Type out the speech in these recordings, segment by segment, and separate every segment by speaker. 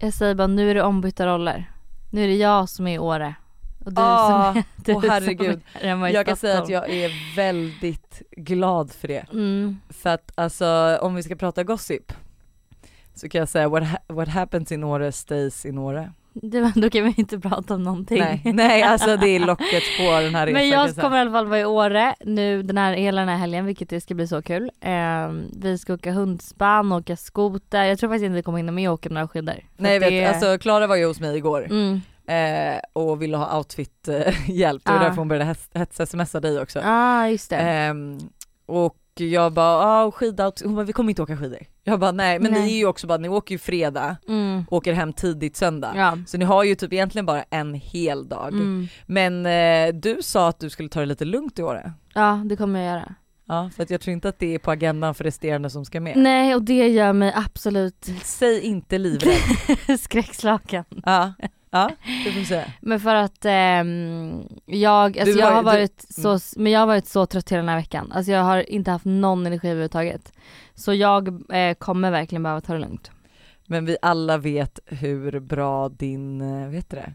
Speaker 1: Jag säger bara nu är det ombytta roller. Nu är det jag som är i Åre. Och du
Speaker 2: Ah,
Speaker 1: som är, du
Speaker 2: åh, herregud.
Speaker 1: Som är hemma i
Speaker 2: Jag kan säga att
Speaker 1: Stockholm.
Speaker 2: jag är väldigt glad för det.
Speaker 1: Mm.
Speaker 2: För att alltså om vi ska prata gossip så kan jag säga what, ha- what happens in Åre stays in Åre.
Speaker 1: Det var, då kan vi inte prata om någonting.
Speaker 2: Nej, nej alltså det är locket på den här resan.
Speaker 1: Men
Speaker 2: kan
Speaker 1: jag
Speaker 2: säga.
Speaker 1: kommer i alla fall vara i Åre nu den här, hela den här helgen vilket det ska bli så kul. Eh, vi ska åka hundspann, åka skoter. Jag tror faktiskt inte vi kommer hinna med att åka några skidor. För
Speaker 2: Nej jag
Speaker 1: att det-
Speaker 2: vet, alltså Klara var ju hos mig igår
Speaker 1: Mm.
Speaker 2: eh, och ville ha outfit-hjälp, det var
Speaker 1: Ah.
Speaker 2: därför hon började hets- hets-smsa dig också.
Speaker 1: ah, just det.
Speaker 2: Ehm, och jag bara, ah, skidout, hon bara vi kommer inte åka skidor. Jag bara nej men
Speaker 1: Nej.
Speaker 2: ni är ju också bara, ni åker ju fredag,
Speaker 1: Mm.
Speaker 2: åker hem tidigt söndag.
Speaker 1: Ja.
Speaker 2: Så ni har ju typ egentligen bara en hel dag.
Speaker 1: Mm.
Speaker 2: Men eh, du sa att du skulle ta det lite lugnt i år.
Speaker 1: ja, det kommer jag göra.
Speaker 2: Ja, för att jag tror inte att det är på agendan för resterande som ska med.
Speaker 1: Nej, och det gör mig absolut
Speaker 2: Säg inte livrädd.
Speaker 1: skräckslagen.
Speaker 2: ja, ja, det får vi säga.
Speaker 1: Men för att ehm, jag, alltså
Speaker 2: Du
Speaker 1: jag
Speaker 2: var- mm.
Speaker 1: har
Speaker 2: du-
Speaker 1: varit så, men jag har varit så trött hela den här veckan. Alltså jag har inte haft någon energi överhuvudtaget. Så jag eh, kommer verkligen behöva ta det lugnt.
Speaker 2: Men vi alla vet hur bra din, eh, vet du det?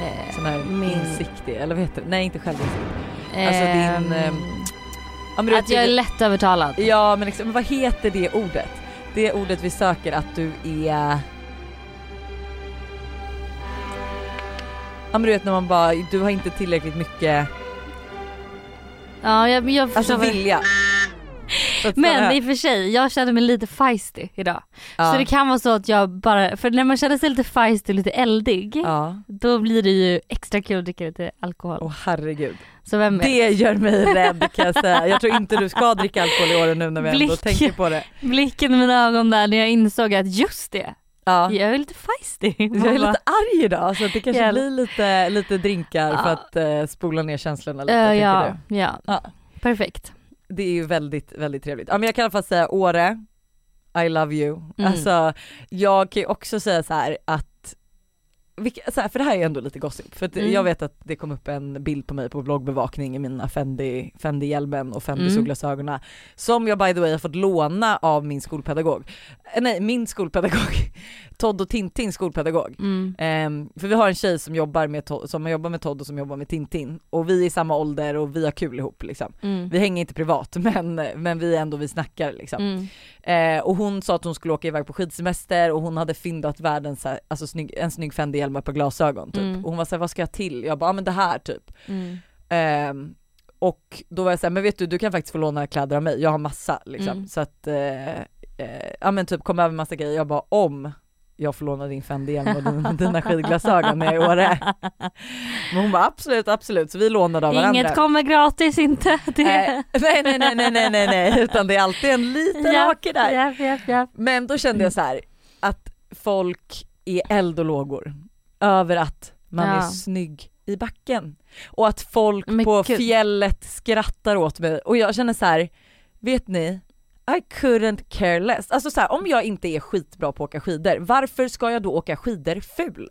Speaker 1: Eh,
Speaker 2: Sån här
Speaker 1: Min-
Speaker 2: insikt är, eller vad heter det? Nej inte självinsikt. Alltså din, ehm, Ja, men du vet
Speaker 1: att jag är
Speaker 2: ju-
Speaker 1: lätt övertalad.
Speaker 2: Ja men liksom, men vad heter det ordet? Det ordet vi söker att du är... Ja men du vet när man bara, du har inte tillräckligt mycket,
Speaker 1: Ja, jag, men jag förstår
Speaker 2: alltså
Speaker 1: vad-
Speaker 2: vilja. Så att sådana-
Speaker 1: Men i och för sig, jag känner mig lite feisty idag.
Speaker 2: ja,
Speaker 1: Så det kan vara så att jag bara, för när man känner sig lite feisty, lite eldig,
Speaker 2: Ja,
Speaker 1: då blir det ju extra kul att dricka lite alkohol.
Speaker 2: åh herregud.
Speaker 1: Så vem vet?
Speaker 2: Det gör mig rädd kan jag säga. Jag tror inte du ska dricka alkohol i år nu när vi ändå
Speaker 1: Blick.
Speaker 2: tänker på det.
Speaker 1: Blicken i mina ögon där när jag insåg att just det,
Speaker 2: Ja.
Speaker 1: jag är lite feisty.
Speaker 2: Jag är
Speaker 1: Man bara,
Speaker 2: lite arg idag så att det kanske
Speaker 1: Hjälp.
Speaker 2: blir lite, lite drinkar för
Speaker 1: Ja.
Speaker 2: att eh, spola ner känslorna lite.
Speaker 1: "Eh,
Speaker 2: tänker
Speaker 1: ja, ja,
Speaker 2: Ja.
Speaker 1: perfekt.
Speaker 2: det är ju väldigt, väldigt trevligt. Ja men jag kan i alla fall säga Åre, I love you.
Speaker 1: Mm.
Speaker 2: Alltså jag kan ju också säga så här att, vilka, så här, för det här är ju ändå lite gossip, för att
Speaker 1: Mm.
Speaker 2: jag vet att det kom upp en bild på mig på bloggbevakning i mina Fendi, Fendi-hjälmen och Fendi
Speaker 1: Mm.
Speaker 2: solglasögonen som jag by the way har fått låna av min skolpedagog, eh, nej min skolpedagog, Todd och Tintin skolpedagog.
Speaker 1: Mm.
Speaker 2: Ehm, för vi har en tjej som jobbar, med Todd, som jobbar med Todd och som jobbar med Tintin och vi är i samma ålder och vi har kul ihop liksom.
Speaker 1: Mm.
Speaker 2: Vi hänger inte privat men, men vi är ändå, vi snackar liksom.
Speaker 1: Mm.
Speaker 2: Eh, och hon sa att hon skulle åka iväg på skidsemester och hon hade fyndat världens, så här- alltså snygg, en snygg Fendi-hjälm med ett par glasögon typ.
Speaker 1: Mm.
Speaker 2: Och hon var såhär, vad ska jag till? Jag bara, ah, men det här typ.
Speaker 1: Mm.
Speaker 2: Ehm, och då var jag såhär, men vet du, du kan faktiskt få låna kläder av mig, jag har massa liksom.
Speaker 1: Mm.
Speaker 2: Så att, eh, eh, ja men typ kom över massa grejer, jag bara om jag får låna din Fendi-hjälm och dina, dina skidglasögon när jag är i Åre. Men hon bara absolut, absolut, så vi lånade av varandra.
Speaker 1: Inget kommer gratis inte. Det...
Speaker 2: Nej, nej, nej, nej, nej, nej, nej, nej, utan det är alltid en liten
Speaker 1: Japp,
Speaker 2: hake där.
Speaker 1: Japp, japp, japp.
Speaker 2: Men då kände jag så här att folk är eld och lågor över att man är
Speaker 1: Ja.
Speaker 2: snygg i backen och att folk
Speaker 1: Men
Speaker 2: på
Speaker 1: gud.
Speaker 2: fjället skrattar åt mig och jag känner så här, vet ni? I couldn't care less. Alltså så här, om jag inte är skitbra på att åka skidor, varför ska jag då åka skidor ful?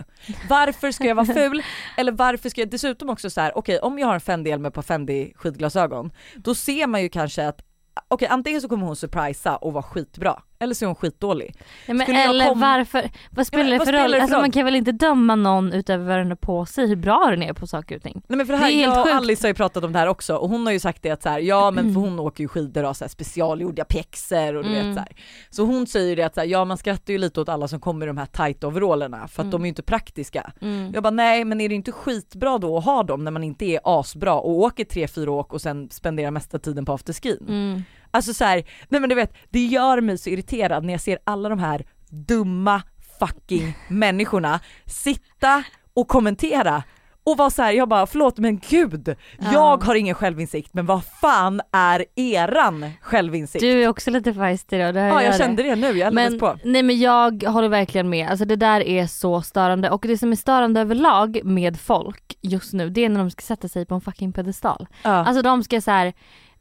Speaker 2: Varför ska jag vara ful? Eller varför ska jag dessutom också så här, okej om jag har en Fendi med på Fendi skidglasögon, då ser man ju kanske att Okej antingen så kommer hon surprisa och vara skitbra, eller så är hon skitdålig.
Speaker 1: Nej, men
Speaker 2: Skulle jag
Speaker 1: eller
Speaker 2: komma-
Speaker 1: varför, vad spelar
Speaker 2: men
Speaker 1: det
Speaker 2: vad
Speaker 1: för
Speaker 2: spelar
Speaker 1: roll?
Speaker 2: det för
Speaker 1: Alltså
Speaker 2: roll?
Speaker 1: man kan väl inte döma någon utöver vad den har på sig, hur bra den är på saker och ting.
Speaker 2: Nej men för det
Speaker 1: Det
Speaker 2: här,
Speaker 1: är helt
Speaker 2: jag och
Speaker 1: sjukt.
Speaker 2: Alice har ju pratat om det här också och hon har ju sagt det att så här, ja men för hon åker ju skidor och har så här specialgjorda pjäxor och du
Speaker 1: Mm.
Speaker 2: vet så här. Så hon säger ju det att så här, ja man skrattar ju lite åt alla som kommer i de här tight overallerna för att
Speaker 1: Mm.
Speaker 2: de är ju inte praktiska. Jag bara nej men är det inte skitbra då att ha dem när man inte är asbra och åker tre fyra åk och sen spenderar mesta tiden på afterskin?
Speaker 1: Mm.
Speaker 2: Alltså så här, nej men du vet, det gör mig så irriterad när jag ser alla de här dumma fucking människorna sitta och kommentera och vara så här, jag bara förlåt men gud, jag har ingen självinsikt men vad fan är eran självinsikt?
Speaker 1: Du är också lite feisty då, det har
Speaker 2: ja jag
Speaker 1: det.
Speaker 2: kände det nu, jag
Speaker 1: men,
Speaker 2: men... på.
Speaker 1: Nej men jag håller verkligen med, alltså det där är så störande och det som är störande överlag med folk just nu det är när de ska sätta sig på en fucking pedestal.
Speaker 2: Ja.
Speaker 1: Alltså de ska så här,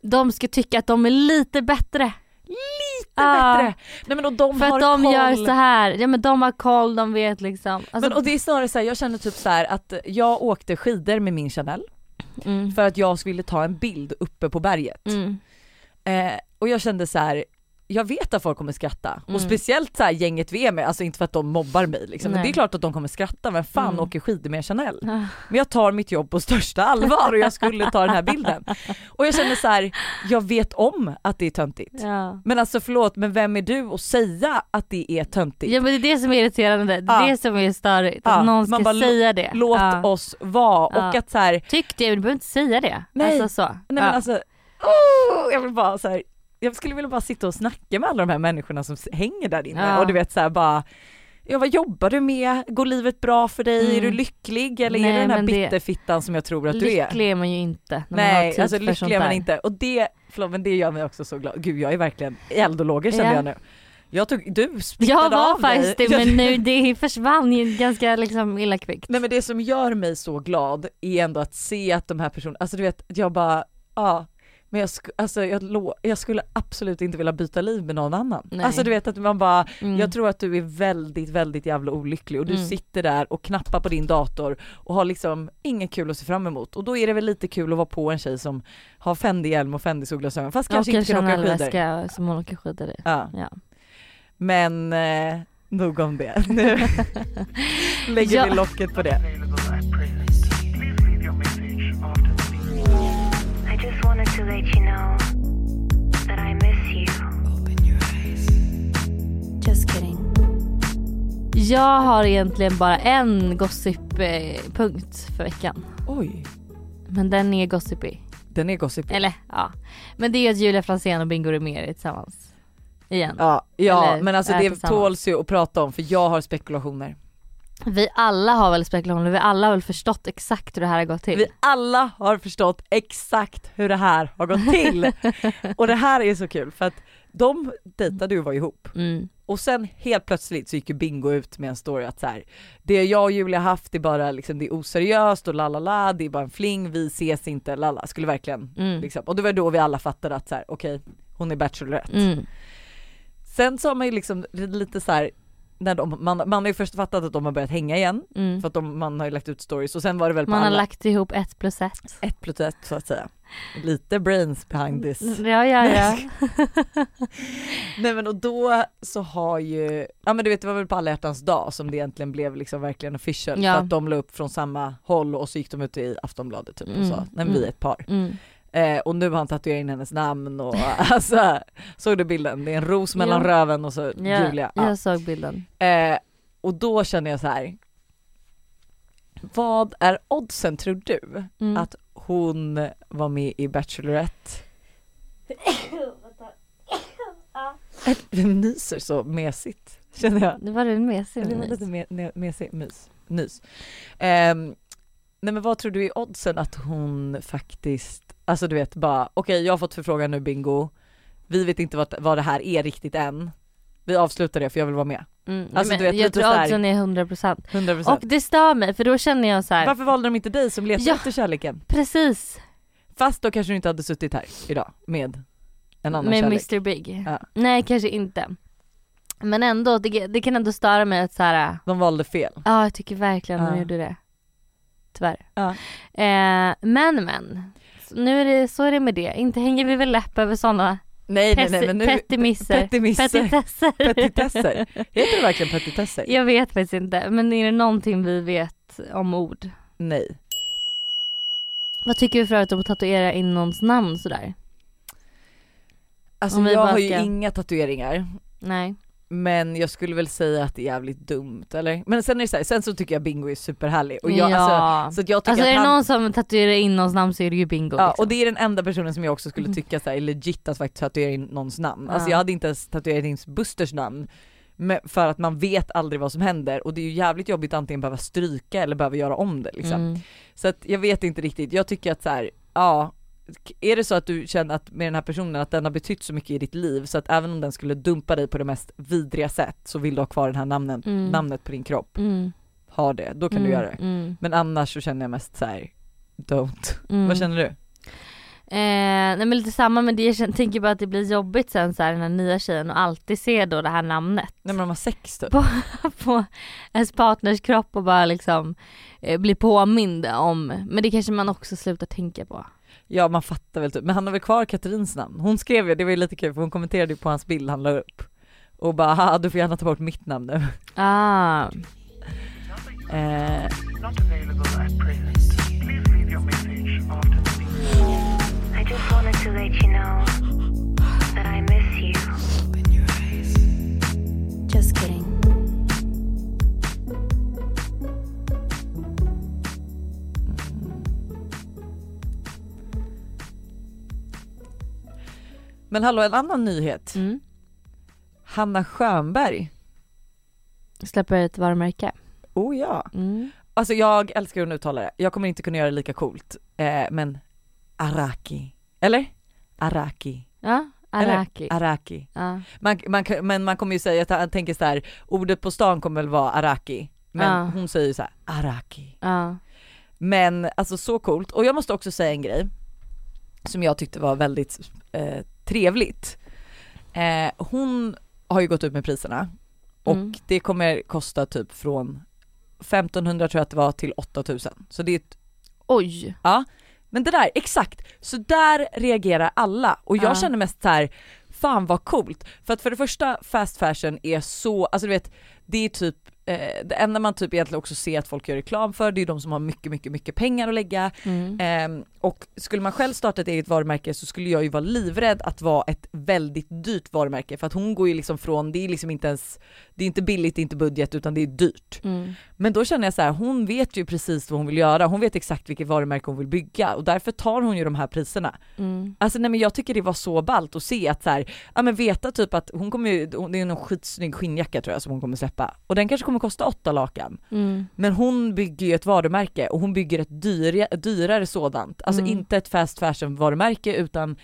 Speaker 1: de ska tycka att de är lite bättre
Speaker 2: det är
Speaker 1: ja.
Speaker 2: bättre. Ah. Nej men och de
Speaker 1: för
Speaker 2: har
Speaker 1: att de
Speaker 2: koll.
Speaker 1: gör så här. ja men de har koll, de vet liksom. Alltså,
Speaker 2: men, och det är snarare så här, jag känner typ så här att jag åkte skidor med min Chanel
Speaker 1: mm,
Speaker 2: för att jag ville ta en bild uppe på berget.
Speaker 1: mm,
Speaker 2: Eh, och jag kände så här. jag vet att folk kommer skratta.
Speaker 1: Mm.
Speaker 2: Och speciellt så här, gänget vi är med, alltså inte för att de mobbar mig liksom. men
Speaker 1: Nej.
Speaker 2: det är klart att de kommer skratta, vem fan
Speaker 1: Mm.
Speaker 2: åker skidor med Chanel? Men jag tar mitt jobb på största allvar och jag skulle ta den här bilden. Och jag känner så här, jag vet om att det är töntigt.
Speaker 1: Ja.
Speaker 2: Men alltså förlåt, men vem är du att säga att det är töntigt?
Speaker 1: ja men det är det som är irriterande, det
Speaker 2: Ja.
Speaker 1: är det som är störigt. Att
Speaker 2: Ja,
Speaker 1: någon ska
Speaker 2: man bara,
Speaker 1: säga det.
Speaker 2: Låt
Speaker 1: ja.
Speaker 2: oss vara och
Speaker 1: Ja.
Speaker 2: att så här,
Speaker 1: Tyck det, men du behöver inte säga det.
Speaker 2: Nej.
Speaker 1: Alltså så.
Speaker 2: nej men
Speaker 1: ja.
Speaker 2: alltså, oh, jag vill bara så här, jag skulle vilja bara sitta och snacka med alla de här människorna som s- hänger där inne
Speaker 1: Ja.
Speaker 2: och du vet så här bara Ja vad jobbar du med? Går livet bra för dig?
Speaker 1: Mm.
Speaker 2: Är du lycklig eller är
Speaker 1: Nej,
Speaker 2: du den här
Speaker 1: men det-
Speaker 2: bitterfittan som jag tror att du är?
Speaker 1: lycklig är man ju inte när man har
Speaker 2: Nej,
Speaker 1: tid
Speaker 2: alltså
Speaker 1: för sånt
Speaker 2: lycklig är man
Speaker 1: där.
Speaker 2: inte. Och det, förlåt men det gör mig också så glad. Gud jag är verkligen eld och lågor kände
Speaker 1: Ja.
Speaker 2: jag nu. Jag tog, du smittade
Speaker 1: Jag var
Speaker 2: av dig.
Speaker 1: faktiskt det men nu det försvann ju ganska liksom illa kvickt.
Speaker 2: Nej men det som gör mig så glad är ändå att se att de här personerna, alltså du vet, jag bara, ja. Men jag, sk- alltså jag, lo- jag skulle absolut inte vilja byta liv med någon annan.
Speaker 1: Nej.
Speaker 2: Alltså du vet att man bara,
Speaker 1: Mm.
Speaker 2: jag tror att du är väldigt, väldigt jävla olycklig och du
Speaker 1: Mm.
Speaker 2: sitter där och knappar på din dator och har liksom inget kul att se fram emot. Och då är det väl lite kul att vara på en tjej som har Fendi-hjälm och Fendi-solglasögon fast kanske
Speaker 1: och en
Speaker 2: inte kan åka skidor.
Speaker 1: Chanel-väska som hon åker skidor i.
Speaker 2: Ja.
Speaker 1: Ja.
Speaker 2: Men eh, nog om det. Nu lägger
Speaker 1: Ja.
Speaker 2: vi locket på det.
Speaker 3: I just wanted to let you know that I miss you. Just kidding.
Speaker 1: Jag har egentligen bara en gossip-punkt för veckan.
Speaker 2: Oj,
Speaker 1: Men den är gossipy.
Speaker 2: den är gossip.
Speaker 1: Eller ja. Men det är att Julia Franzén och Bingo Rimér är tillsammans. Igen.
Speaker 2: Ja, ja
Speaker 1: Eller
Speaker 2: men alltså
Speaker 1: är
Speaker 2: det
Speaker 1: tillsammans.
Speaker 2: tåls ju att prata om för jag har spekulationer.
Speaker 1: Vi alla har väl spekulationer, vi alla har väl förstått exakt hur det här har gått till.
Speaker 2: Vi alla har förstått exakt hur det här har gått till. och det här är så kul för att de dejtade ju och var ihop
Speaker 1: Mm.
Speaker 2: och sen helt plötsligt så gick ju Bingo ut med en story att så här, det jag och Julia haft är bara liksom det är oseriöst och la la la, det är bara en fling, vi ses inte, la la, skulle verkligen
Speaker 1: Mm.
Speaker 2: liksom. Och det var då vi alla fattade att så här, okej, hon är bachelorette.
Speaker 1: Mm.
Speaker 2: Sen så har man ju liksom lite så här, när de, man, man har ju först fattat att de har börjat hänga igen
Speaker 1: Mm.
Speaker 2: för att de, man har ju lagt ut stories och sen var det väl på
Speaker 1: Man har
Speaker 2: alla
Speaker 1: lagt ihop ett plus ett.
Speaker 2: ett plus ett så att säga. Lite brains behind this.
Speaker 1: Mm, Ja, ja, ja.
Speaker 2: Nej men och då så har ju, ja men du vet det var väl på alla hjärtans dag som det egentligen blev liksom verkligen official
Speaker 1: Ja.
Speaker 2: för att de la upp från samma håll och så gick de ut i Aftonbladet typ och
Speaker 1: Mm,
Speaker 2: sa nej men
Speaker 1: mm.
Speaker 2: vi är ett par.
Speaker 1: Mm.
Speaker 2: Eh, och nu har han tatuerat in hennes namn och alltså såg du bilden? Det är en ros mellan
Speaker 1: Ja.
Speaker 2: röven och så
Speaker 1: Ja,
Speaker 2: Julia. Ja.
Speaker 1: Jag såg bilden.
Speaker 2: Eh, och då känner jag så här. Vad är oddsen tror du
Speaker 1: Mm.
Speaker 2: att hon var med i Bachelorette? Den nyser så mesigt känner jag.
Speaker 1: Det var det en mesig
Speaker 2: Det var
Speaker 1: mys.
Speaker 2: lite me- ne- mesig mys. Nys. Ehm, nej men vad tror du är oddsen att hon faktiskt, alltså du vet bara okej jag har fått förfrågan nu bingo, vi vet inte vad, vad det här är riktigt än. Vi avslutar det för jag vill vara med.
Speaker 1: Mm.
Speaker 2: Alltså,
Speaker 1: men
Speaker 2: du vet,
Speaker 1: jag
Speaker 2: lite
Speaker 1: tror
Speaker 2: så här-
Speaker 1: oddsen är 100%.
Speaker 2: 100%.
Speaker 1: Och det stör mig för då känner jag så här.
Speaker 2: Varför valde de inte dig som letar
Speaker 1: Ja.
Speaker 2: efter kärleken?
Speaker 1: precis
Speaker 2: Fast då kanske du inte hade suttit här idag med en annan
Speaker 1: med
Speaker 2: kärlek.
Speaker 1: Mr Big.
Speaker 2: Ja.
Speaker 1: Nej kanske inte. Men ändå, det, det kan ändå störa mig att så här.
Speaker 2: De valde fel.
Speaker 1: ja jag tycker verkligen att de
Speaker 2: Ja.
Speaker 1: gjorde det. Tyvärr.
Speaker 2: Ja.
Speaker 1: Eh, men men, Så nu är det, så är det med det. Inte hänger vi väl läpp över sådana
Speaker 2: Nej nej nej men nu,
Speaker 1: pettimisser,
Speaker 2: pettimisser,
Speaker 1: petitesser.
Speaker 2: petitesser. Heter det verkligen petitesser?
Speaker 1: jag vet faktiskt inte, men är det någonting vi vet om ord?
Speaker 2: Nej.
Speaker 1: Vad tycker vi för övrigt om att tatuera in någons namn sådär?
Speaker 2: Alltså
Speaker 1: Om vi
Speaker 2: jag
Speaker 1: bara
Speaker 2: har ju
Speaker 1: ska-
Speaker 2: inga tatueringar.
Speaker 1: Nej.
Speaker 2: Men jag skulle väl säga att det är jävligt dumt eller? Men sen är det så här, sen så tycker jag Bingo är superhärlig och jag, alltså, så att jag tycker
Speaker 1: Alltså är
Speaker 2: att
Speaker 1: det
Speaker 2: han,
Speaker 1: någon som tatuerar in någons namn så är det ju bingo. liksom.
Speaker 2: ja,
Speaker 1: Mm.
Speaker 2: och det är den enda personen som jag också skulle tycka så här, är legit att faktiskt tatuera in någons namn. Alltså
Speaker 1: Ja.
Speaker 2: jag hade inte ens tatuerat in Busters namn men- för att man vet aldrig vad som händer och det är ju jävligt jobbigt att antingen behöva stryka eller behöva göra om det liksom.
Speaker 1: Mm.
Speaker 2: Så att jag vet inte riktigt, jag tycker att så här, ja är det så att du känner att med den här personen att den har betytt så mycket i ditt liv så att även om den skulle dumpa dig på det mest vidriga sätt så vill du ha kvar den här namnen,
Speaker 1: Mm.
Speaker 2: namnet på din kropp,
Speaker 1: Mm.
Speaker 2: ha det, då kan
Speaker 1: mm,
Speaker 2: du göra det.
Speaker 1: Mm.
Speaker 2: Men annars så känner jag mest så här, don't.
Speaker 1: Mm.
Speaker 2: Vad känner du?
Speaker 1: Eh, nej men lite samma men det jag känner- tänker bara att det blir jobbigt sen så här, den här nya tjejen och alltid se då det här namnet
Speaker 2: Nej men de har sex typ.
Speaker 1: på, på ens partners kropp och bara liksom eh, bli påmind om, men det kanske man också slutar tänka på.
Speaker 2: Ja man fattar väl typ, men han har väl kvar Katarins namn? Hon skrev ju, det var ju lite kul för hon kommenterade ju på hans bild han la upp och bara "Haha, du får gärna ta bort mitt namn nu.
Speaker 1: Ah,
Speaker 2: Eh,
Speaker 4: Not available at present. Please leave your message after the beep.
Speaker 3: I just wanted to let you know that I miss you. Just kidding.
Speaker 2: men hallå en annan nyhet.
Speaker 1: mm.
Speaker 2: Hanna Schönberg.
Speaker 1: Släpper ett varumärke.
Speaker 2: Oh ja.
Speaker 1: Mm.
Speaker 2: Alltså jag älskar hur hon uttalar det. Jag kommer inte kunna göra det lika coolt. Eh, men Araki. Eller? Araki.
Speaker 1: Ja,
Speaker 2: Eller?
Speaker 1: Araki.
Speaker 2: Araki.
Speaker 1: Ja.
Speaker 2: Man, man, kan- men man kommer ju säga, jag tänker så här, ordet på stan kommer väl vara Araki. Men
Speaker 1: Ja.
Speaker 2: hon säger ju så här, Araki.
Speaker 1: Ja.
Speaker 2: Men alltså så coolt. Och jag måste också säga en grej som jag tyckte var väldigt eh, trevligt. Eh, hon har ju gått ut med priserna och
Speaker 1: Mm.
Speaker 2: det kommer kosta typ från 1500 tror jag att det var till 8000. Så det är ett
Speaker 1: Oj.
Speaker 2: men det där, exakt. Så där reagerar alla och jag
Speaker 1: Ja.
Speaker 2: känner mest så här. fan vad coolt. För att för det första, fast fashion är så, alltså du vet, det är typ eh, det enda man typ egentligen också ser att folk gör reklam för det är ju de som har mycket, mycket, mycket pengar att lägga.
Speaker 1: Mm.
Speaker 2: Ehm, och skulle man själv starta ett eget varumärke så skulle jag ju vara livrädd att vara ett väldigt dyrt varumärke för att hon går ju liksom från, det är liksom inte ens, det är inte billigt, det är inte budget utan det är dyrt.
Speaker 1: Mm.
Speaker 2: Men då känner jag så här, hon vet ju precis vad hon vill göra, hon vet exakt vilket varumärke hon vill bygga och därför tar hon ju de här priserna.
Speaker 1: Mm.
Speaker 2: Alltså nej men jag tycker det var så ballt att se att så här, ja men veta typ att hon kommer ju, det är någon skitsnygg skinnjacka tror jag som hon kommer släppa och den kanske kommer kosta åtta lakan.
Speaker 1: Mm.
Speaker 2: Men hon bygger ju ett varumärke och hon bygger ett dyre, dyrare sådant, alltså
Speaker 1: Mm.
Speaker 2: inte ett fast fashion varumärke utan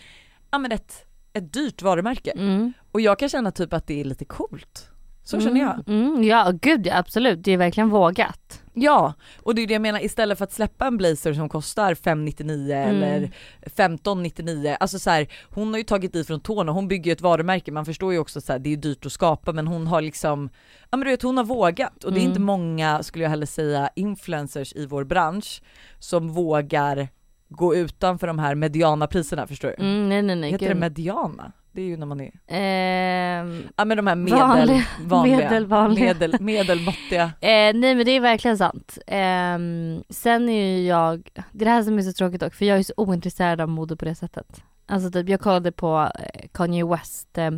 Speaker 2: ja men ett, ett dyrt varumärke.
Speaker 1: Mm.
Speaker 2: Och jag kan känna typ att det är lite coolt. Så känner jag.
Speaker 1: Mm. Mm. Ja, gud ja, absolut. Det är verkligen vågat.
Speaker 2: Ja, och det är det jag menar istället för att släppa en blazer som kostar 599
Speaker 1: Mm.
Speaker 2: eller 1599, alltså så här, hon har ju tagit i från tårna, hon bygger ju ett varumärke, man förstår ju också så här, det är ju dyrt att skapa men hon har liksom, ja men du vet hon har vågat och det är
Speaker 1: Mm.
Speaker 2: inte många skulle jag heller säga influencers i vår bransch som vågar gå utanför de här mediana priserna förstår du?
Speaker 1: Mm, nej, nej, nej.
Speaker 2: Heter
Speaker 1: gud.
Speaker 2: det mediana? Det är ju när man är,
Speaker 1: Ehm,
Speaker 2: ja men de här medel,
Speaker 1: Vanliga-
Speaker 2: vanliga,
Speaker 1: medelvanliga.
Speaker 2: medel, medelmåttiga.
Speaker 1: Eh, nej men det är verkligen sant. Ehm, sen är ju jag, det är det här som är så tråkigt dock för jag är så ointresserad av mode på det sättet. Alltså typ jag kollade på eh, Kanye West, eh,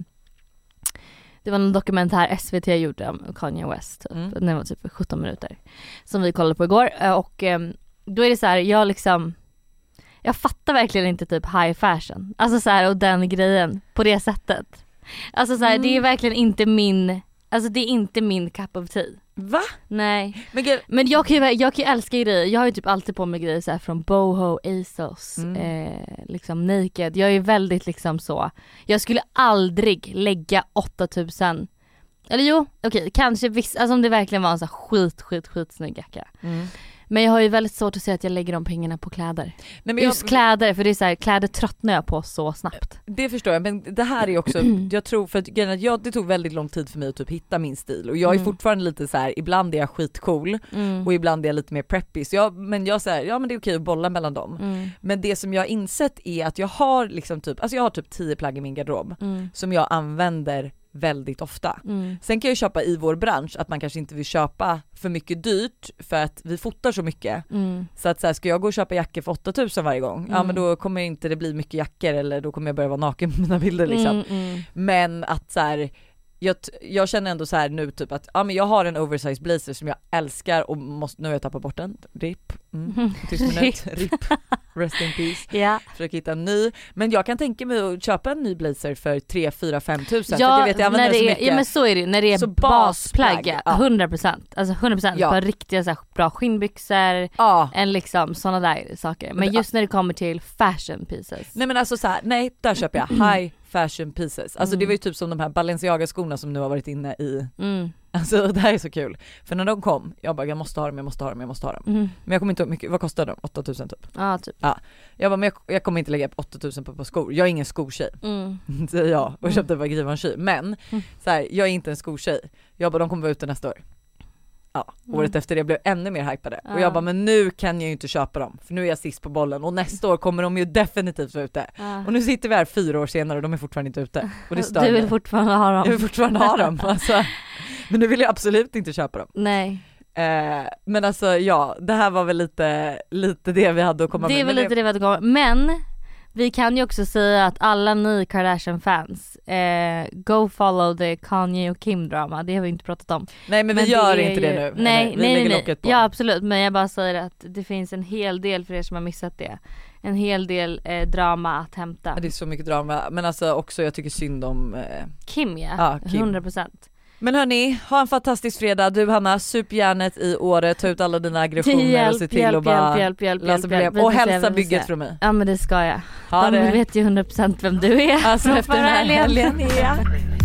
Speaker 1: det var någon dokumentär SVT gjorde om Kanye West, typ.
Speaker 2: Mm.
Speaker 1: den var typ 17 minuter. Som vi kollade på igår eh, och ehm, då är det så här, jag liksom jag fattar verkligen inte typ high fashion, alltså så här och den grejen på det sättet. Alltså så här, det är verkligen inte min, alltså det är inte min cup of tea.
Speaker 2: Va?
Speaker 1: Nej.
Speaker 2: Men gud,
Speaker 1: Men jag kan, ju, jag kan ju älska grejer, jag har ju typ alltid på mig grejer så här från Boho, Asos,
Speaker 2: Mm.
Speaker 1: eh, liksom Naked. Jag är ju väldigt liksom så, jag skulle aldrig lägga 8000, eller jo okej kanske viss, alltså om det verkligen var en så här skit skit skitsnygg jacka.
Speaker 2: Mm.
Speaker 1: Men jag har ju väldigt svårt att säga att jag lägger de pengarna på kläder.
Speaker 2: Nej, men jag-
Speaker 1: Just kläder, för det är så här, kläder tröttnar jag på så snabbt.
Speaker 2: Det förstår jag men det här är också, jag tror för att grejen är att jag, det tog väldigt lång tid för mig att typ hitta min stil och jag är
Speaker 1: Mm.
Speaker 2: fortfarande lite så här, ibland är jag skitcool och ibland är jag lite mer preppy så jag, men jag säger ja men det är okej att bolla mellan dem.
Speaker 1: Mm.
Speaker 2: Men det som jag har insett är att jag har liksom typ, alltså jag har typ 10 plagg i min garderob
Speaker 1: Mm.
Speaker 2: som jag använder väldigt ofta.
Speaker 1: Mm.
Speaker 2: Sen kan jag ju köpa i vår bransch att man kanske inte vill köpa för mycket dyrt för att vi fotar så mycket.
Speaker 1: Mm.
Speaker 2: Så att så här, ska jag gå och köpa jackor för 8000 varje gång, ja
Speaker 1: Mm.
Speaker 2: men då kommer inte det bli mycket jackor eller då kommer jag börja vara naken på mina bilder liksom.
Speaker 1: Mm. Mm.
Speaker 2: Men att så här, jag, t- jag känner ändå så här nu typ att ja, men jag har en oversized blazer som jag älskar och måste, nu har jag tappat bort den, RIP. Mm. Tyst minut, RIP. Rest in peace.
Speaker 1: Ja.
Speaker 2: Försöker hitta en ny. Men jag kan tänka mig att köpa en ny blazer för 3, 4, 5 tusen. för
Speaker 1: Ja,
Speaker 2: att jag vet jag använder
Speaker 1: när
Speaker 2: den typ så
Speaker 1: det är,
Speaker 2: mycket.
Speaker 1: ja men så är det ju. när det är
Speaker 2: Så
Speaker 1: basplagg,
Speaker 2: basplagg, ja.
Speaker 1: 100% alltså 100%
Speaker 2: Ja.
Speaker 1: ja. bara riktiga så här, bra skinnbyxor,
Speaker 2: ja.
Speaker 1: en liksom sådana där saker.
Speaker 2: Men
Speaker 1: Men
Speaker 2: det-
Speaker 1: just när det kommer till fashion pieces.
Speaker 2: Nej men alltså så här, nej där köper jag high fashion pieces. Alltså det var ju typ som de här Balenciaga skorna som nu har varit inne i,
Speaker 1: Mm.
Speaker 2: alltså det här är så kul. För när de kom, jag bara jag måste ha dem, jag måste ha dem, jag måste ha dem.
Speaker 1: Mm.
Speaker 2: Men jag kommer inte ihåg mycket, vad kostade de? 8000 typ?
Speaker 1: Ja typ.
Speaker 2: Jag bara, men jag, jag kommer inte lägga upp 8000 på ett par skor, jag är ingen skotjej.
Speaker 1: Mm.
Speaker 2: Säger jag och köpte ett par Givenchy. Men
Speaker 1: Mm.
Speaker 2: så här, jag är inte en skotjej. Jag bara, de kommer vara ute nästa år. Ja, året
Speaker 1: Mm.
Speaker 2: efter det blev jag ännu mer hypade. Och
Speaker 1: Ja.
Speaker 2: jag bara, men nu kan jag ju inte köpa dem för nu är jag sist på bollen och nästa år kommer de ju definitivt vara ute.
Speaker 1: Ja.
Speaker 2: Och nu sitter vi här fyra år senare och de är fortfarande inte ute. Och det stör
Speaker 1: Du vill
Speaker 2: mig.
Speaker 1: fortfarande ha
Speaker 2: Jag
Speaker 1: dem?
Speaker 2: vill fortfarande ha dem. Alltså. Men nu vill jag absolut inte köpa dem.
Speaker 1: Nej.
Speaker 2: Eh, men alltså ja, det här var väl lite, lite det vi hade att komma
Speaker 1: Det är
Speaker 2: med.
Speaker 1: väl
Speaker 2: Men
Speaker 1: lite det vi hade kommit Men vi kan ju också säga att alla ni Kardashian-fans, eh, go follow the Kanye och Kim drama. Det har vi inte pratat om.
Speaker 2: nej men vi
Speaker 1: det
Speaker 2: gör
Speaker 1: är
Speaker 2: inte det
Speaker 1: ju-
Speaker 2: nu.
Speaker 1: Nej, nej,
Speaker 2: vi lägger
Speaker 1: nej. nej.
Speaker 2: locket på.
Speaker 1: Ja absolut men jag bara säger att det finns en hel del för er som har missat det. En hel del eh, drama att hämta.
Speaker 2: Det är så mycket drama, men alltså också jag tycker synd om eh.
Speaker 1: Kim ja,
Speaker 2: Ja, Kim.
Speaker 1: 100%.
Speaker 2: Men hörni, ha en fantastisk fredag. Du Hanna, sup järnet i året, ta ut alla dina aggressioner och se
Speaker 1: Hjälp, hjälp,
Speaker 2: till att
Speaker 1: hjälp,
Speaker 2: bara
Speaker 1: hjälp, hjälp, hjälp,
Speaker 2: lösa
Speaker 1: hjälp, hjälp.
Speaker 2: problem. Och
Speaker 1: Vi får se,
Speaker 2: hälsa
Speaker 1: vi får se.
Speaker 2: bygget från mig.
Speaker 1: Ja men det ska jag.
Speaker 2: Ha
Speaker 1: De
Speaker 2: det!
Speaker 1: vet ju 100% vem du är.
Speaker 2: Alltså
Speaker 1: från
Speaker 2: efter den här
Speaker 1: förra
Speaker 2: helgen.
Speaker 1: Ja.
Speaker 4: Britney